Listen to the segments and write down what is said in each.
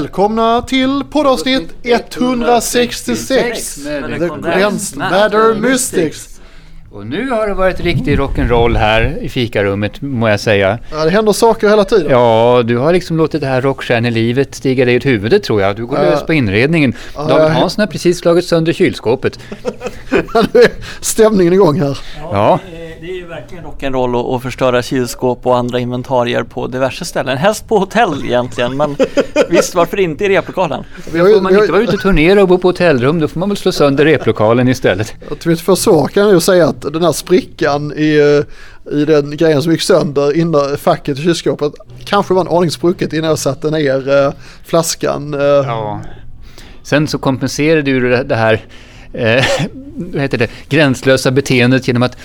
Välkomna till poddavsnitt 166 med The Condensed Matter Mystics. Och nu har det varit riktig rock'n'roll här i fikarummet må jag säga. Ja, det händer saker hela tiden. Ja, du har liksom låtit det här rockstjärnelivet stiga dig ut huvudet tror jag. Du går Ja. lös på inredningen. Ja, David jag- Hansson har precis slagit sönder kylskåpet. Nu är stämningen igång här. Ja. det är- Det är ju verkligen rock'n'roll och- och förstöra kylskåp och andra inventarier på diverse ställen. Helst på hotell egentligen, men visst varför inte i replokalen? Vi har Om man inte var ute och turnera och bo på hotellrum, då får man väl slå sönder replokalen istället. Att vi inte får svar kan jag ju säga att den här sprickan i, eh, i den grejen som gick sönder innan facket i kylskåpet kanske var en aning sprucket innan jag satte ner eh, flaskan. eh. Ja. Sen så kompenserade du det- det här eh, vad heter det, gränslösa beteendet genom att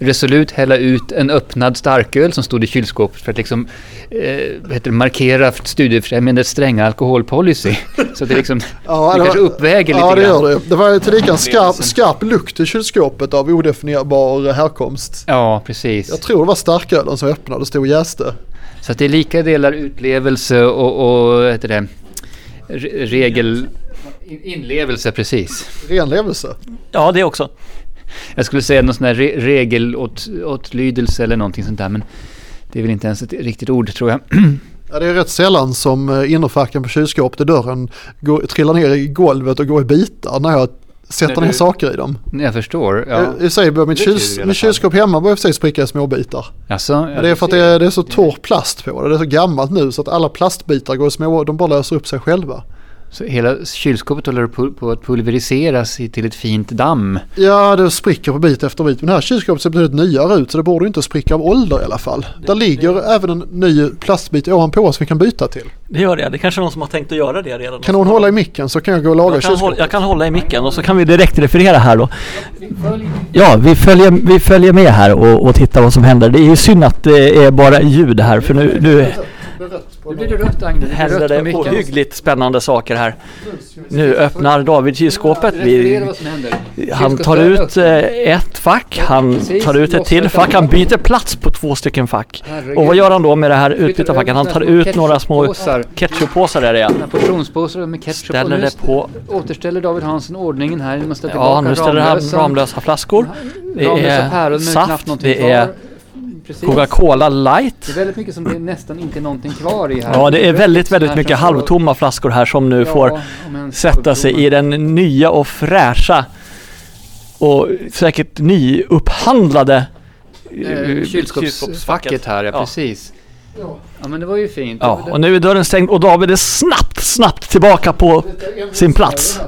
resolut hälla ut en öppnad starköl som stod i kylskåpet för att liksom, eh, vad heter det, markera studiefrämjandets stränga alkoholpolicy. Så att det liksom Ja, var- det kanske uppväger ja, lite det grann. gör det. Det var tillika en skarp, skarp lukt i kylskåpet av odefinierbar härkomst. Ja, precis. Jag tror det var starkölen som öppnade och stod och jäste. Så att det är lika delar utlevelse och, och vad heter det, re- regel... in- Inlevelse, precis. Ren levelse. Ja, det också. Jag skulle säga någon sån här re- regelåtlydelse eller någonting sånt där men det är väl inte ens ett riktigt ord tror jag. Ja, det är rätt sällan som eh, innerfacken på kylskåpet i dörren går, trillar ner i golvet och går i bitar när jag sätter När ner du- saker i dem. Jag förstår. Ja. Ja. I, i sig börjar mitt, Det är tur i kyls, alla mitt fall. kylskåp hemma börjar i och för sig spricka i små bitar. Alltså, ja, Men det är för att det är, det är så torr plast på det. Det är så gammalt nu så att alla plastbitar går i små, de bara löser upp sig själva. så hela kylskåpet håller på- på att pulveriseras i- till ett fint damm. Ja, det spricker på bit efter bit. Men det här kylskåpet ser betydligt nyare ut så det borde ju inte spricka av ålder i alla fall. Där ligger även en ny plastbit ovanpå som vi kan byta till. Det gör jag. Det är kanske är någon som har tänkt att göra det redan. Kan hon hålla i micken så kan jag gå och laga jag, kan hålla, kylskåpet. jag kan hålla i micken och så kan vi direkt referera här då. Ja, vi följer, vi följer med här och, och tittar vad som händer. Det är ju synd att det är bara ljud här för nu, nu Nu blir det rött Agnes, händer det ohyggligt spännande saker här. Nu öppnar David kylskåpet. Vi, vad som händer. Han tar ut eh, ett fack, han Precis, tar ut ett lossar till fack, han kanalen. byter plats på två stycken fack. Herregud. Och vad gör han då med det här utbytta Flyttar facket? Han över tar några små ut några små ketchuppåsar. ketchuppåsar är det ja. Portionspåsar med ketchup och Ställer nu det på, återställer David Hansen ordningen här genom att ställa ja tillbaka nu ställer han Ramlösa. Ramlösa flaskor. Det Ramlösa päron är med knappt saft, någonting det är kvar. Precis. Coca-Cola light. Det är väldigt mycket som det är nästan inte någonting kvar i här. Ja det är väldigt, Sådana väldigt här mycket som får- halvtomma flaskor här som nu Ja, får om ens sätta sig i halvtomma. den nya och fräscha och säkert nyupphandlade eh, Eh, kylskåpsfacket här, ja, Ja. precis. Ja men det var ju fint. Ja, Det- och nu är dörren stängd och David är snabbt, snabbt tillbaka på sin plats.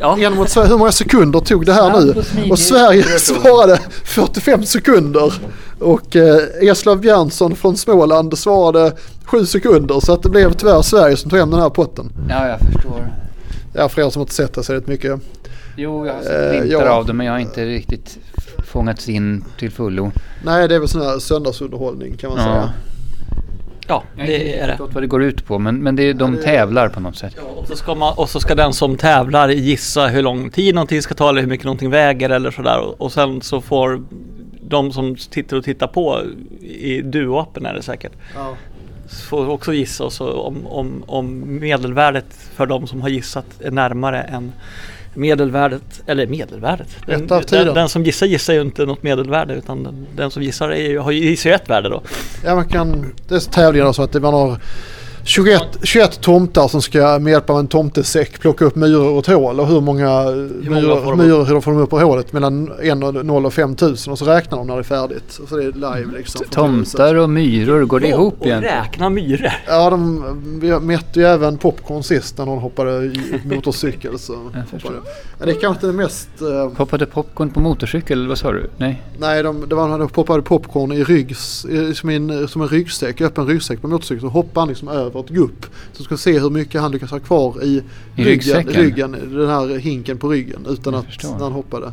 Ja, En mot Sverige, hur många sekunder tog det här nu? Och Sverige svarade 45 sekunder. Och eh, Eslöv Björnsson från Småland svarade 7 sekunder. Så att det blev tyvärr Sverige som tog hem den här potten. ja, jag förstår. Ja, för er som inte sett det så är det mycket. Jo, jag har Eh, sett glimtar ja. av det men jag har inte riktigt fångats in till fullo. Nej, det är väl sån här söndagsunderhållning kan man Ja. säga. ja Jag har inte det riktigt är det. förstått vad det går ut på men, men det är, de tävlar på något sätt. Och så, ska man, och så ska den som tävlar gissa hur lång tid någonting ska ta eller hur mycket någonting väger eller sådär. Och, och sen så får de som tittar och tittar på i duo-appen är det säkert. Ja. Får också gissa och så om, om, om medelvärdet för de som har gissat är närmare än medelvärdet, eller medelvärdet. Den, Ett av tio då. den, den som gissar gissar ju inte något medelvärde utan den, den som gissar är, ju- har ju- gissar ju ett värde då. Ja, man kan, det är tävlingar så att man har 21, 21 tomtar som ska med hjälp av en tomtesäck plocka upp myror och ett hål och hur många eh, många myror, får de myror hur de får de upp ur hålet mellan 1 och 0 och 5 000 och så räknar de när det är färdigt. Så det är Mm. live liksom. Tomtar och myror, går det ihop och igen? räkna myror. Ja, de vi mätte ju även popcorn sist när någon hoppade i motorcykel. Så hoppade. Ja, det är kanske inte det mest... Eh, Poppade popcorn på motorcykel, eller vad sa du? Nej? nej, de, det var när de hoppade popcorn i ryggs, i, som, en, som en ryggsäck, öppen ryggsäck på motorcykeln. Så hoppade han liksom över ett gupp. Så ska se hur mycket han lyckas ha kvar i, I ryggen, ryggsäcken? ryggen, den här hinken på ryggen utan Jag att förstår. när han hoppade. Så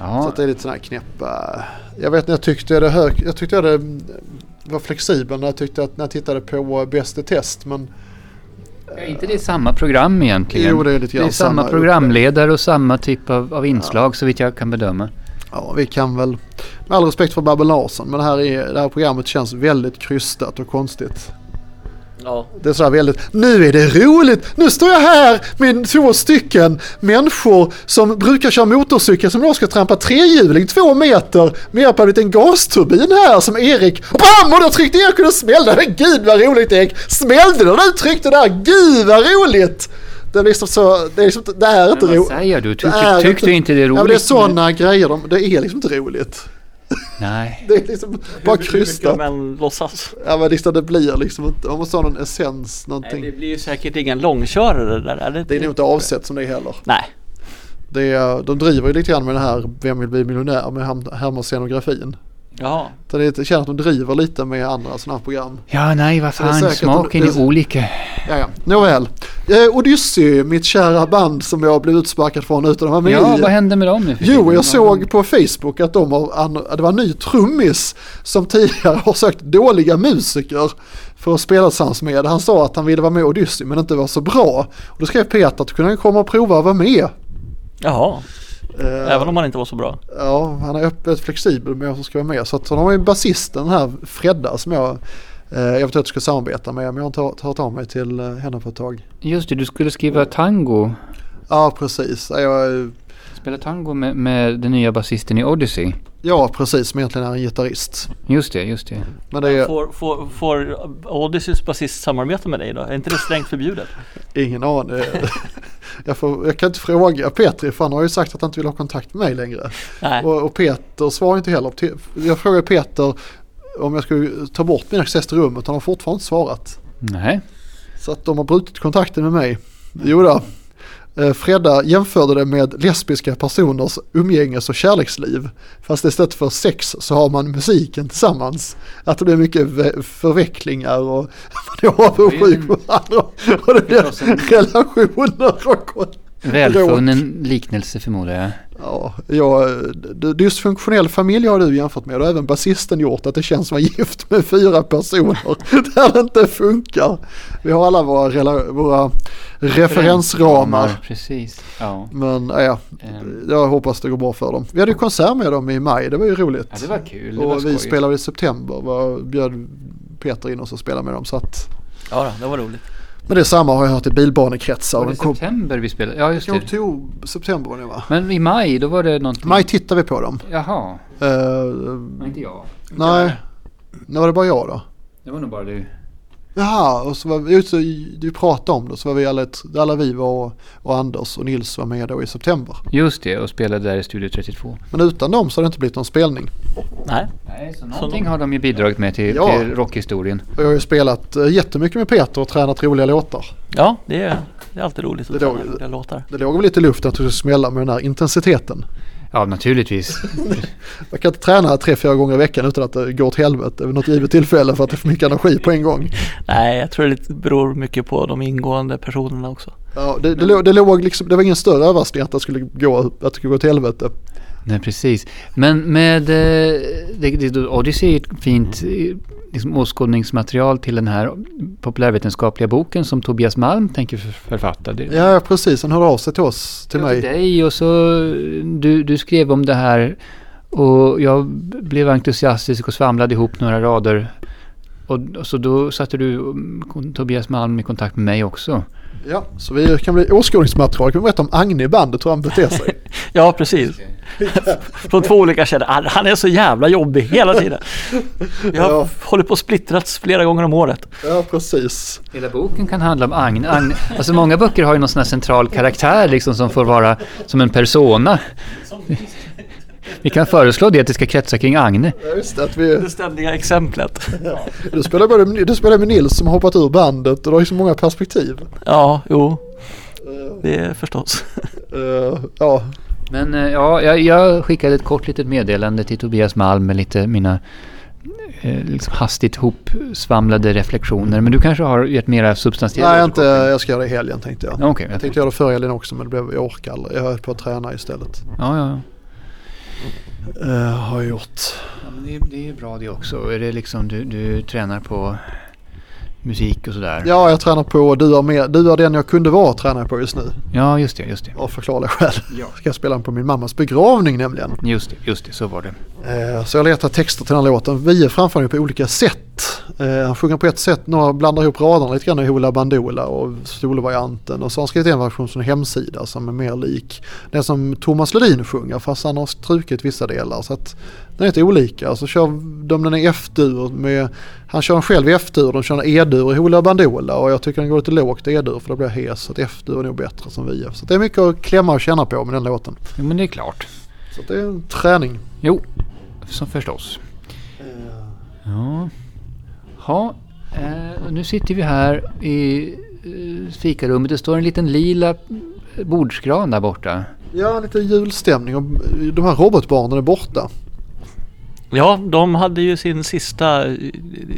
Ja, att det är lite sådana här knäppa... Jag vet när jag tyckte det hög, jag tyckte jag det var flexibel när jag, tyckte att, när jag tittade på eh, Bäst i test. Men är inte det samma program egentligen? Jo, det är lite grann Det är samma, samma programledare och samma typ av, av inslag så vitt jag kan bedöma. Ja, vi kan väl, med all respekt för Babbel Larsson, men det här, är, det här programmet känns väldigt krystat och konstigt. Ja. Det är sådär väldigt, nu är det roligt, nu står jag här med två stycken människor som brukar köra motorcykel som jag ska trampa trehjuling två meter med hjälp av en liten gasturbin här som Erik, och bam, och då tryckte Erik och då smällde den, gud vad roligt Erik, smällde den och du tryckte där, gud vad roligt! Det är liksom så, det är liksom, inte- det här är inte Men vad roligt. säger du? Tyck, Det är tyck, tyckte inte det är Alltså, roligt? Ja, men det är sådana grejer, de, det är liksom inte roligt. Nej. Det är liksom bara krystat. Men låtsas. Ja men liksom det blir liksom inte, man måste ha någon essens, någonting. Nej, det blir ju säkert ingen långkörare där. Är det, Det är nog inte avsett som det är heller. Nej. Det är, de driver ju lite grann med den här Vem vill bli miljonär med Herm- Herman scenografin. Ja. Så det är- Jag känner att de driver lite med andra sådana här program. Ja, nej, vad det är fan, säkert- smaken det är är- olika. Ja, ja. Nåväl. Eh, Odyssey, mitt kära band som jag blev utsparkad från utan att vara med Ja, i. vad hände med dem nu? för Jo, tiden? jag såg på Facebook att de har, an- att det var en ny trummis som tidigare har sökt dåliga musiker för att spela tillsammans med. Han sa att han ville vara med i Odyssey men inte var så bra. Och då skrev Peter att kunde han komma och prova att vara med. Jaha. Eh, Även om man inte var så bra. Ja, han är öppet flexibel med vem som ska vara med. Så att, så de har ju basisten här, Fredda, som jag eh, eventuellt ska samarbeta med. Men jag har inte hört- hört av mig till eh, henne på ett tag. Just det, du skulle skriva tango. Ja, precis. Ja, Jag, Spela tango med, med den nya basisten i Odyssey. ja, precis. Som egentligen är en gitarrist. Just det, just det. Men det är Får, får, får Odysseys basist samarbeta med dig då? Är inte det strängt förbjudet? ingen aning. Jag, får, jag kan inte fråga Petri för han har ju sagt att han inte vill ha kontakt med mig längre. Nej. Och, och Peter svarar inte heller. Te- Jag frågade Peter om jag skulle ta bort min access till rummet. Han har fortfarande inte svarat. Nej. Så att de har brutit kontakten med mig. Jo då. Eh, Fredda jämförde det med lesbiska personers umgänges och kärleksliv. Fast istället för sex så har man musiken tillsammans. Att det blir mycket ve- förvecklingar och man är avundsjuk på varandra. Och det blir relationer och... och- Välfunnen liknelse förmodar jag. Ja, ja, d- dysfunktionell familj har du jämfört med och även basisten gjort att det känns som att vara gift med fyra personer där det inte funkar. Vi har alla våra, rela- våra referensramar. Precis. Ja. Men ja, ja, Ehm. jag hoppas det går bra för dem. Vi hade ju konsert med dem i maj, det var ju roligt. ja, det var kul. det var och vi skoj. spelade i september, var, bjöd Peter in oss och spelade med dem. Så att, Ja, då, det var roligt. men det är samma har jag hört i bilbanekretsar. Var det Den i kom, september vi spelade? Ja, just det. oktober, september var det va? Men i maj, då var det någonting. Maj tittade vi på dem. Jaha. Eh, Nej, inte jag. Nej, nu var det bara jag då. Det var nog bara du. Jaha, och så var vi, just, det, du pratade om det, så var vi alla, ett- alla vi var och, och Anders och Nils var med då i september. Just det, och spelade där i Studio 32. Men utan dem så hade det inte blivit någon spelning. Nej. Nej, så någonting har de ju bidragit med till, Ja. till rockhistorien. Och jag har ju spelat eh, jättemycket med Peter och tränat roliga låtar. Ja, det är, det är alltid roligt att Det är träna roligt. roliga låtar. Det låg väl lite i luften att det skulle smälla med den här intensiteten. Ja, naturligtvis. Jag kan inte träna tre, fyra gånger i veckan utan att det går åt helvete vid något givet tillfälle för att det är för mycket energi på en gång. Nej, jag tror det lite beror mycket på de ingående personerna också. Ja, det, det, låg, det, låg liksom, det var ingen större överraskning att det skulle gå, att det skulle gå åt helvete. Nej, precis. Men med... eh, Det, det, Odyssey är ett fint eh, liksom, åskådningsmaterial till den här populärvetenskapliga boken som Tobias Malm tänker för- författa. Det, Ja, precis. Han hörde av sig till oss, till Ja, mig. dig och så... Du, du skrev om det här och jag blev entusiastisk och svamlade ihop några rader. Och, och så då satte du mm, Tobias Malm i kontakt med mig också. Ja, så vi kan bli åskådningsmaterial. Kan vi berätta om Agne i bandet, hur han beter sig? Ja, precis. Från två olika källor. Ah, Han är så jävla jobbig hela tiden. Vi har Ja. håller på att splittrats flera gånger om året. ja, precis. Hela boken kan handla om Agne. Agne. Alltså många böcker har ju någon sån här central karaktär liksom som får vara som en persona. Vi kan föreslå det att det ska kretsa kring Agne. Ja, just det, att vi, Det ständiga exemplet. du, spelar både, med- du spelar med Nils som har hoppat ur bandet och du har liksom många perspektiv. Ja, jo. Det är förstås. Eh, ja, Men eh, ja, jag, jag skickade ett kort litet meddelande till Tobias Malm med lite mina eh, liksom hastigt hopsvamlade reflektioner. Men du kanske har gett mera substantiella nej jag inte, jag ska göra det i helgen tänkte jag. Ja, Okej, Jag jag tänkte göra det förra helgen också men det blev, jag orkar aldrig. Jag höll på att träna istället. ja, ja, ja. Eh, har jag gjort. Ja, men det, är- det är bra det också. Är det liksom du, du tränar på musik och sådär? Ja, jag tränar på Du är, med, du är den jag kunde vara tränar jag på just nu. ja, just det, just det. Av förklarliga skäl. Ska jag spela den på min mammas begravning nämligen. Just det, just det, så var det. Eh, Så jag letar texter till den här låten. Vi framför den på olika sätt. Eh, Han sjunger på ett sätt, några blandar ihop raderna lite grann i Hoola Bandoola och solvarianten. Och så har han skrivit en version från hemsida som är mer lik den som Thomas Ledin sjunger fast han har strukit vissa delar. Så att den är lite olika. Och Så kör de den i F-dur. Med, han kör den själv i F-dur, de kör den i E-dur i Hoola Bandoola. Och jag tycker den går lite lågt i E-dur för då blir jag hes. Så att F-dur är nog bättre som vi är. Så att det är mycket att klämma och känna på med den låten. Jo, men det är klart. Så att det är en träning. Jo, som förstås. Ja. Ha, eh, nu sitter vi här i eh, fikarummet. Det står en liten lila bordsgran där borta. Ja, lite julstämning och de här robotbarnen är borta. Ja, de hade ju sin sista,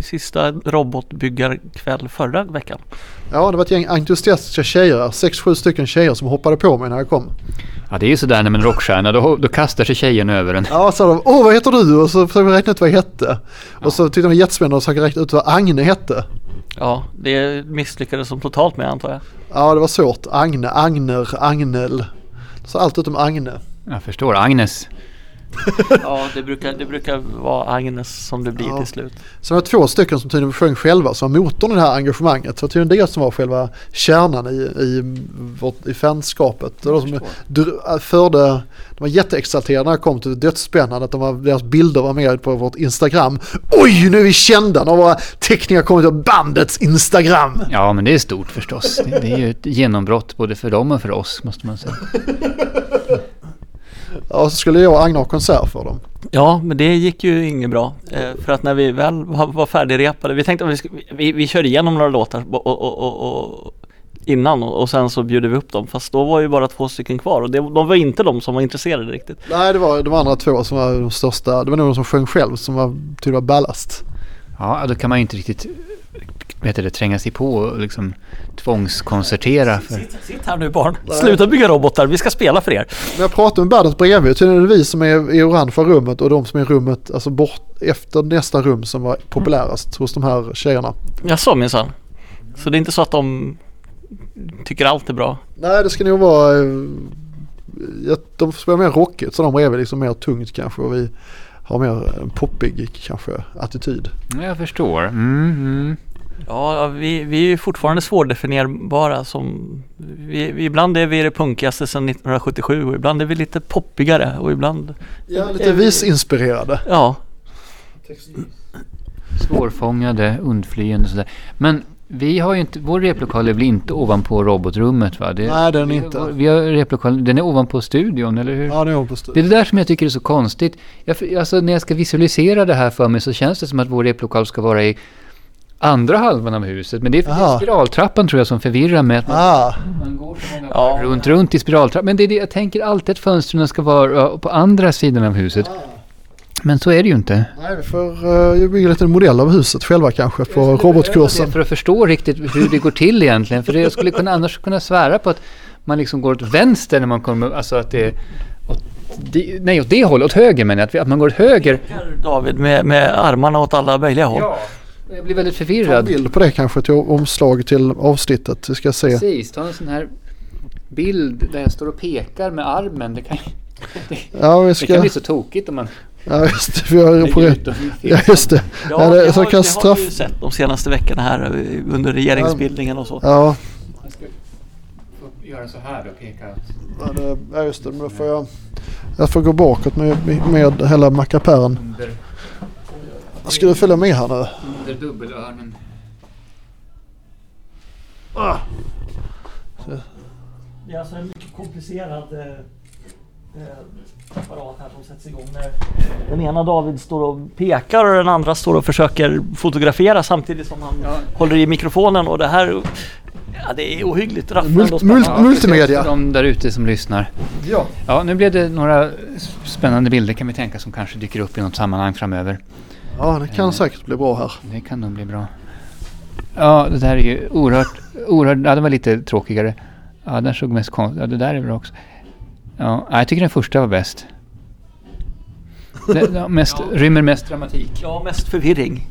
sista robotbyggarkväll förra veckan. Ja, det var ett gäng entusiastiska tjejer, sex sju stycken tjejer som hoppade på mig när jag kom. Ja, det är ju sådär när man är rockstjärna. Då, då kastar sig tjejen över en. Ja, så sa de “Åh, vad heter du?” och så försökte vi räkna ut vad jag hette. Och så tyckte de det var jättespännande och försökte räkna ut vad Agne hette. Ja, det misslyckades som totalt med antar jag. Ja, det var svårt. Agne, Agner, Agnel. Så allt utom Agne. Jag förstår. Agnes. Ja, det brukar, det brukar vara Agnes som det blir Ja. till slut. Sen var det två stycken som tydligen sjöng själva som var motorn i det här engagemanget. Så det var tydligen det som var själva kärnan i, i, vårt, i fanskapet. Det var de som dr- äh, förde, de var jätteexalterade när jag kom till dödsspännande att de var, deras bilder var med på vårt Instagram. Oj, nu är vi kända! Nu har våra teckningar kommit på bandets Instagram! Ja, men det är stort förstås. Det, det är ju ett genombrott både för dem och för oss, måste man säga. Ja, och så skulle jag och Agne ha konsert för dem. Ja, men det gick ju inget bra. Eh, för att när vi väl var, var färdigrepade, vi tänkte att vi, sk- vi, vi körde igenom några låtar och, och, och, och innan och, och sen så bjuder vi upp dem. Fast då var ju bara två stycken kvar och det, de var inte de som var intresserade riktigt. Nej, det var de andra två som var de största. Det var nog de som sjöng själv som var, tyckte det var ballast. Ja, då kan man ju inte riktigt vad heter det, tränga sig på och liksom tvångskoncertera. För. Sitt, sitt här nu barn, sluta bygga robotar, vi ska spela för er. Men jag pratade med bandet bredvid. Tydligen är det vi som är i orangea rummet och de som är i rummet alltså bort efter nästa rum som var populärast hos de här tjejerna. Jag sa minsann. Så det är inte så att de tycker allt är bra. Nej, det ska nog vara... eh, ja, De spelar mer rockigt så de bredvid liksom mer tungt kanske och vi har mer en poppig kanske attityd. Ja, Jag förstår. Mm, mm. Ja, ja, vi, vi är ju fortfarande svårdefinierbara som... Vi, vi, ibland är vi det punkigaste sedan 1977 och ibland är vi lite poppigare och ibland... Ja, lite visinspirerade. Ja, Svårfångade, undflyende och sådär. Men vi har ju inte, vår replokal är väl inte ovanpå robotrummet va? Det, Nej, den är vi- inte. Vi har replokalen, den är ovanpå studion, eller hur? Ja, det är hon på Det styr. är det där som jag tycker är så konstigt. Jag, alltså, när jag ska visualisera det här för mig så känns det som att vår replokal ska vara i andra halvan av huset. Men det är, det är Aha. spiraltrappan tror jag som förvirrar mig. Att man, Ah, man går så många Ja. varv runt, runt i spiraltrappan. Men det är det, jag tänker alltid att fönstren ska vara eh, på andra sidan av huset. Men så är det ju inte. nej, vi får uh, bygga en liten modell av huset själva kanske på robotkursen. För att förstå riktigt hur det går till egentligen. För jag skulle kunna, annars kunna svära på att man liksom går åt vänster när man kommer, alltså att det är åt, di- nej, åt det hållet, åt höger menar jag, att, vi- att man går åt höger. Här, David med, med armarna åt alla möjliga håll. Ja. Jag blir väldigt Ta en förvirrad. bild på det kanske till omslag till avsnittet. Vi ska se. Precis, ta en sån här bild där jag står och pekar med armen. Det kan, det, Ja, vi det kan ska... bli så tokigt om man Ja, just det. Vi har på lägger det. ut dem i fel Ja, just det. Ja, Ja, det, det, så har, kan det har straff... vi ju sett de senaste veckorna här eh, under regeringsbildningen och så. Ja, Jag ska få göra så här då, peka åt. ja, det- ja, just det. Men då får jag... Jag får gå bakåt med, med, med hela mackapären. Under, Ska du följa med här nu? under dubbelörnen. Det är alltså en mycket komplicerad eh, apparat här som sätts igång när den ena David står och pekar och den andra står och försöker fotografera samtidigt som han håller i mikrofonen och det här ja, det är ohyggligt rafflande Mult, och mult, spännande. Speciellt för multimedia. de där ute som lyssnar. Ja. Ja, nu blev det några s- spännande bilder kan vi tänka som kanske dyker upp i något sammanhang framöver. ja, det kan säkert bli bra här. Det kan nog bli bra. Ja, det där är ju oerhört, oerhört, ja den var lite tråkigare. Ja, den såg mest konstigt, ja det där är bra också. Ja, nej, jag tycker den första var bäst. Den, ja, mest, Rymmer mest dramatik. Ja, mest förvirring.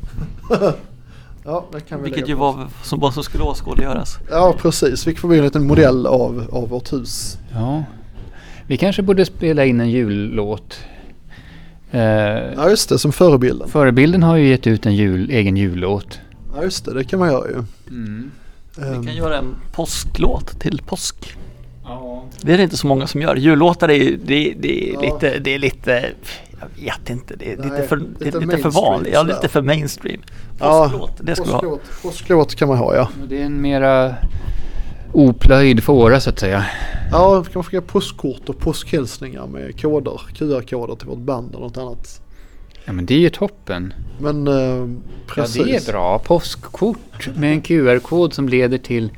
Ja, det kan vi Vilket ju lägga på. var som vad som skulle åskådliggöras. Ja, precis. Vi får bli en liten modell av, av vårt hus. Ja. Vi kanske borde spela in en jullåt. Eh, Ja just det, som förebilden. förebilden har ju gett ut en jul, egen jullåt. Ja just det, det kan man göra ju. Vi kan Ehm, göra en påsklåt till påsk. Det är det inte så många som gör. Jullåtar är ju, det, det är Ja. lite, det är lite, jag vet inte, det är Nej, lite för, lite det är lite för mainstream vanligt. Ja, sådär. lite för mainstream. Ja, Påsklåt, det skulle vi ha. Påsklåt, påsklåt kan man ha ja. Det är en mera oplöjd fåra så att säga. Ja, kan man skicka påskkort och påskhälsningar med koder, QR-koder till vårt band eller något annat. Ja men det är ju toppen. Men eh, precis. Ja det är bra. Påskkort med en QR-kod som leder till...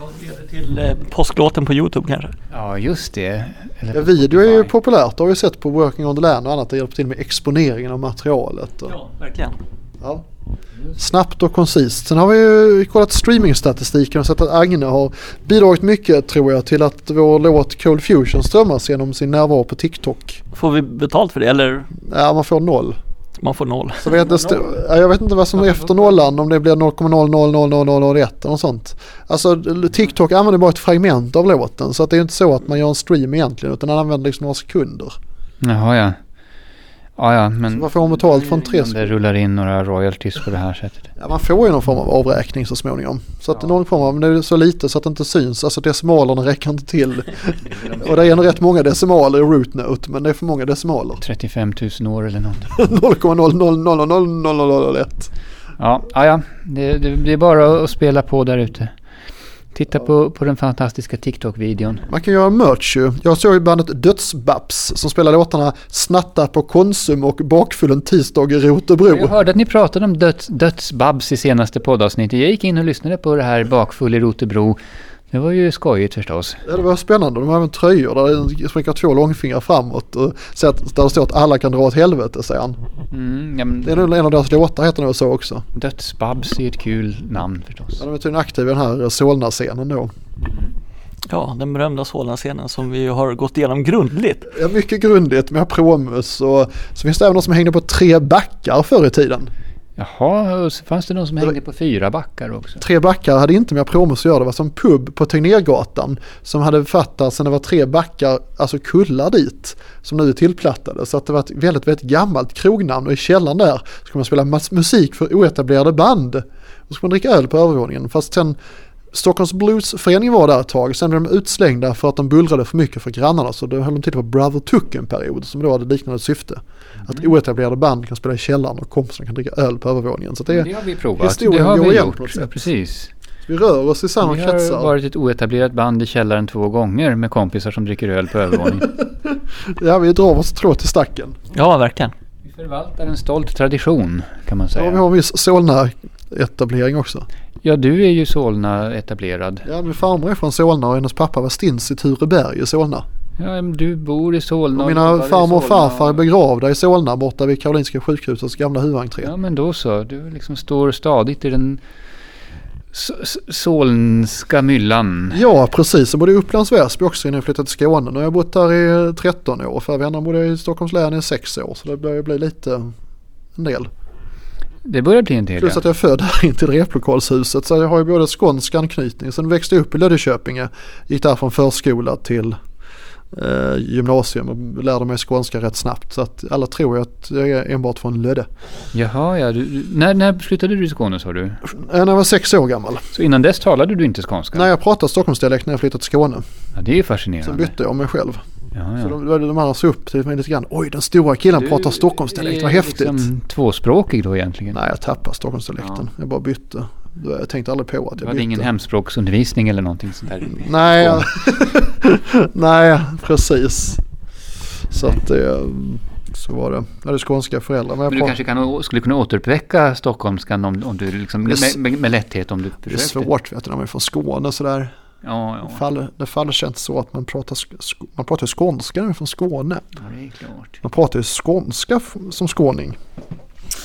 Ja, det leder till eh, påsklåten på Youtube kanske. Ja just det. Eller Ja, video är ju Spotify. populärt, det har vi sett på Working on the Land och annat. Det hjälper till med exponeringen av materialet. Och, Ja, verkligen. ja. Snabbt och koncist. Sen har vi ju kollat streamingstatistiken och sett att Agne har bidragit mycket tror jag till att vår låt Cold Fusion strömmas genom sin närvaro på TikTok. Får vi betalt för det eller Ja, man får noll. man får noll? Så vet jag, ja, jag vet inte vad som är efter nollan, om det blir 0,0000001 eller något sånt. Alltså TikTok använder bara ett fragment av låten så att det är inte så att man gör en stream egentligen utan han använder liksom några sekunder. Jaha ja. Ja ja men... Varför har man betalt från tre Om det sekunder? rullar in några royalties på det här sättet. Ja, man får ju någon form av avräkning så småningom. Så att Ja. någon form av, men det är så lite så att det inte syns, alltså decimalerna räcker inte till. Och det är nog rätt många decimaler i root note men det är för många decimaler. 35 000 år eller något. 0,0000001. Ja, ja, ja. Det, det, det är bara att spela på där ute. Titta på, på den fantastiska TikTok-videon. Man kan göra merch ju. Jag såg ju bandet Dödsbaps som spelar låtarna Snatta på Konsum och Bakfyllen tisdag i Jag Rotebro. hörde att ni pratade om döds, dödsbabs i senaste poddavsnittet. Jag gick in och lyssnade på det här bakfull i Rotebro. Det var ju skojigt förstås. Ja, det var spännande. De har även tröjor där det spricker två långfingrar framåt och så att, där det står att alla kan dra åt helvete säger han. Mm, ja, men Det är nog en av deras låtar heter nog så också. dödsbabs är ett kul namn förstås. Ja, de är tydligen aktiva i den här Solna-scenen då. Ja, den berömda Solna-scenen som vi har gått igenom grundligt. Ja, mycket grundligt med Promus och så finns det även de som hängde på tre backar förr i tiden. Jaha, och så fanns det någon som hängde på fyra backar också. Tre backar hade inte med Promus att göra, det var som pub på Tegnérgatan som hade fattats sen det var tre backar, alltså kullar dit, som nu är tillplattade. Så att det var ett väldigt, väldigt gammalt krognamn och i källaren där så kunde man spela mas- musik för oetablerade band. Och så kunde man dricka öl på övervåningen. Fast sen Stockholms Bluesförening var där ett tag, sen blev de utslängda för att de bullrade för mycket för grannarna så då höll de till på Brother Tuck en period som då hade liknande syfte. Att Mm. oetablerade band kan spela i källaren och kompisarna kan dricka öl på övervåningen. Så att det Det, är, har vi provat. Det historien har går vi igen på något gjort. sätt. Ja, precis. vi rör oss i samma Vi kretsar. har varit ett oetablerat band i källaren två gånger med kompisar som dricker öl på övervåningen. Ja, vi drar vårt strå till stacken. Ja, verkligen. Vi förvaltar en stolt tradition kan man Ja, vi har säga. en viss Solna-etablering också. Ja, du är ju Solna etablerad. Ja, min farmor är från Solna och hennes pappa var stins i Tureberg i Solna. Ja, men du bor i Solna. Och jobbar mina i farmor och Solna. farfar är begravda i Solna borta vid Karolinska sjukhusets gamla huvudentré. Ja, men då så. Du liksom står stadigt i den s- s- solnska myllan. Ja, precis. Jag bodde i Upplands Väsby också innan jag flyttade till Skåne. Nu har jag bott där i 13 år. Förra vändan bodde jag i Stockholms län i 6 år. Så det börjar bli lite en del. Det börjar bli en del. Plus Ja. att jag är född här inte i replokalshuset. Så jag har ju både skånsk anknytning. Sen växte jag upp i Löddeköpinge. Gick där från förskola till eh, gymnasium och lärde mig skånska rätt snabbt. Så att alla tror ju att jag är enbart från Lödde. Jaha, ja. Du, du- när, när flyttade du till Skåne sa du? Eh, När jag var sex år gammal. Så innan dess talade du inte skånska? När jag pratade Stockholmsdialekt när jag flyttade till Skåne. Ja, det är ju Sen fascinerande. bytte jag mig själv. Ja, Så ja. de, de andra såg upp till mig lite grann. Oj, den stora killen Du pratar Stockholmsdialekt. Vad är häftigt. Liksom tvåspråkig då egentligen? Nej, jag tappade Stockholmsdialekten. Ja. Jag bara bytte. Jag tänkte aldrig på att Du jag hade bytte. ingen hemspråksundervisning eller någonting sånt där? Nej, jag- nej precis. Så att det, så var det. Jag hade skånska föräldrar. Men jag Men du pratar- kanske kan, å- skulle kunna återuppväcka stockholmskan om, om du liksom, Det är s- med, med, med lätthet om du det är försökte? svårt vet du när man är från Skåne sådär. Ja, ja. Fall, det faller känns så att man pratar, sk- sk- man pratar ju skånska när man är från Skåne. ja, det är klart. Man pratar ju skånska f- som skåning. Ja.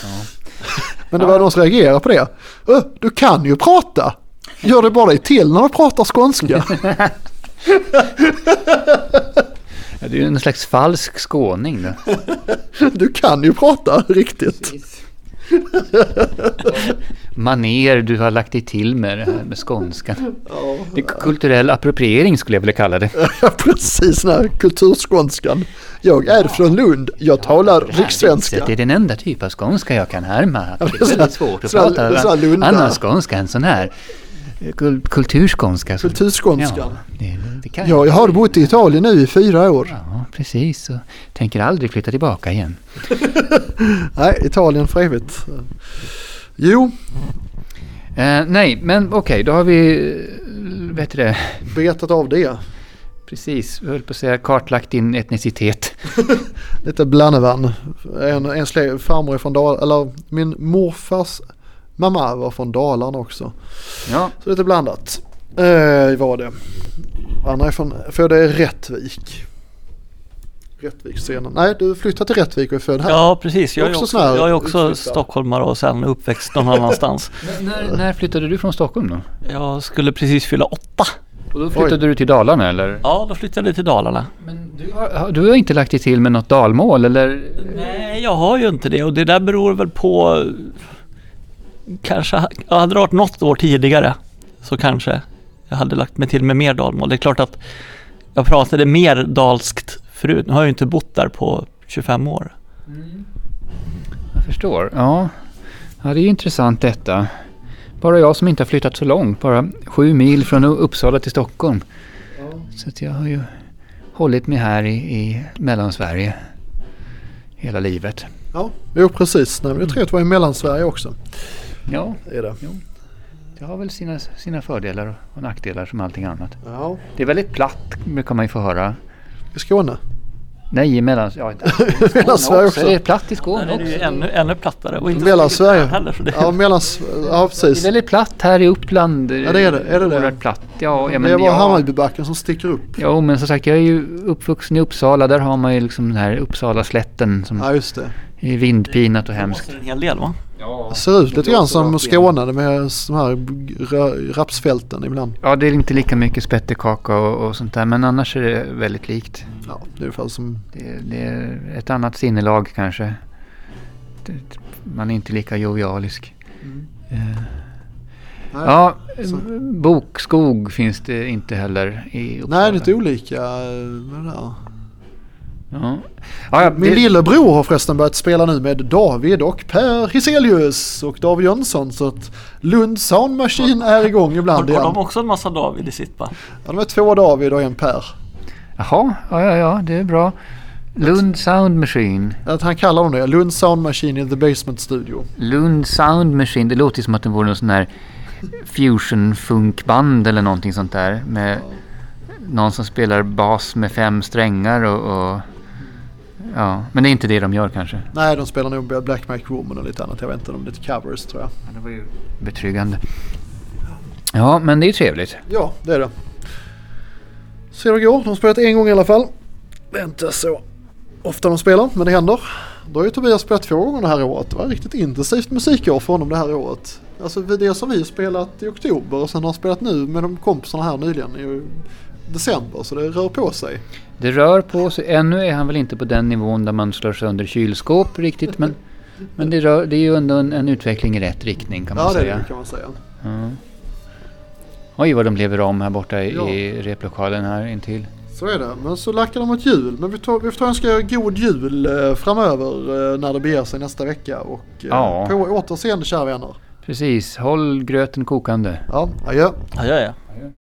Men det var någon som reagerade på det. Ö, du kan ju prata! Gör det bara dig till när du pratar skånska. Ja, det är ju en slags falsk skåning. Då. Du kan ju prata riktigt. Maner du har lagt dig till med det här med skånskan. Ja, Det är kulturell appropriering skulle jag vilja kalla det. precis den här kulturskånskan. Jag är från Lund, jag talar Det här rikssvenska. viset är den enda typ av skånska jag kan härma. Det men så- är väldigt svårt att så- så- prata Lunda. annan skånska än sån här. eh, Kul- Kulturskånska. så- Kulturskånskan. Ja, det, det kan Ja, jag har bott i Italien nu i fyra år. Ja, precis. Och tänker aldrig flytta tillbaka igen. Nej, Italien för evigt. Jo, Eh, nej, men okej, då har vi... eh, Vet du det? betat av det. Precis, jag höll på att säga kartlagt din etnicitet. Lite blandevann. En, en släkt, farmor är från Dalarna, eller min morfars mamma var från Dalarna också. Ja, Så lite blandat eh, var det. Anna är från, född i Rättvik. Rättviksscenen. Nej, du flyttade till Rättvik och är född här. Ja precis, jag är Också också, sån här jag är också utflyttad. stockholmare och sen uppväxt någon annanstans. N- när, när flyttade du från Stockholm då? Jag skulle precis fylla åtta. Och då flyttade du till Dalarna eller? Ja, då flyttade jag till Dalarna. Men du har, har- du har inte lagt dig till med något dalmål eller? Nej, jag har ju inte det och det där beror väl på eh, Kanske, jag hade det varit något år tidigare så kanske jag hade lagt mig till med mer dalmål. Det är klart att jag pratade mer dalskt förut. Nu har jag ju inte bott där på 25 år. Jag förstår. Ja, ja det är intressant detta. Bara jag som inte har flyttat så långt, bara sju mil från Uppsala till Stockholm. Så att jag har ju hållit mig här i, i Mellansverige hela livet. ja. Jo, precis. Nej, men jag tror att det var i Mellansverige också. Ja, Är det. det har väl sina, sina fördelar och nackdelar som allting annat. Ja. Det är väldigt platt, det kan man ju få höra. I Skåne. Nej, i Mellans... Ja, inte. Mellansverige också. Det är platt i Skåne Där är också. det ju ännu, ännu plattare och inte så Mellansverige. mycket där heller. Så det, Ja, Mellans... Ja, Det är precis. väldigt platt här i Uppland. Ja, det är det. Är det det? Oerhört platt. Ja, ja, Det men är bara jag- Hammarbybacken som sticker upp. Jo, men som sagt, jag är ju uppvuxen i Uppsala. Där har man ju liksom den här Uppsala-slätten som Ja, just det. är vindpinat och det hemskt. måste en hel del va? Det ser ut lite grann som Skåne med de här ra- rapsfälten ibland. Ja, det är inte lika mycket spettekaka och, och sånt där, men annars är det väldigt likt. Ja, det är ungefär som... Det, det är ett annat sinnelag kanske. Det, man är inte lika jovialisk. Mm. Eh, Nej, Ja, så- b- bokskog finns det inte heller i Uppsala. Nej, det är lite olika. eh, med det där. Ja. Ja, ja, Min det- lillebror har förresten börjat spela nu med David och Per Hiselius och David Jönsson så att Lund Sound Machine är igång Har, ibland har igen. de också en massa David i sitt band? Ja, de är två David och en Per. Jaha, ja, ja, ja, det är bra. Lund Sound Machine. Att han kallar dem det, Lund Sound Machine in the Basement Studio. Lund Sound Machine, det låter ju som att det vore någon sån här fusion funkband eller någonting sånt där. Med någon som spelar bas med fem strängar och, och... Ja, men det är inte det de gör kanske. Nej, de spelar nog Black Magic Woman och lite annat. Jag vet inte, de är lite covers tror jag. Ja, det var ju betryggande. Ja, men det är ju trevligt. Ja, det är det. Se hur det går. De har spelat en gång i alla fall. Det är inte så ofta de spelar, men det händer. Då har ju Tobias spelat två gånger det här året. Det var ett riktigt intensivt musikår för honom det här året. Alltså det som vi har spelat i oktober och sen har han spelat nu med de kompisarna här nyligen i december. Så det rör på sig. Det rör på sig. Ännu är han väl inte på den nivån där man slår sönder kylskåp riktigt, men... Men det, rör, det är ju ändå en, en utveckling i rätt riktning kan man Ja, det är säga. det kan man säga. Ja. Oj vad de lever om här borta i, Ja. i replokalen här intill. Så är det. Men så lackar de mot jul. Men vi, tar, vi får önska er god jul eh, framöver eh, när det beger sig nästa vecka. Och eh, Ja. på återseende kära vänner. Precis, håll gröten kokande. Ja, adjö. Ja, ja, ja.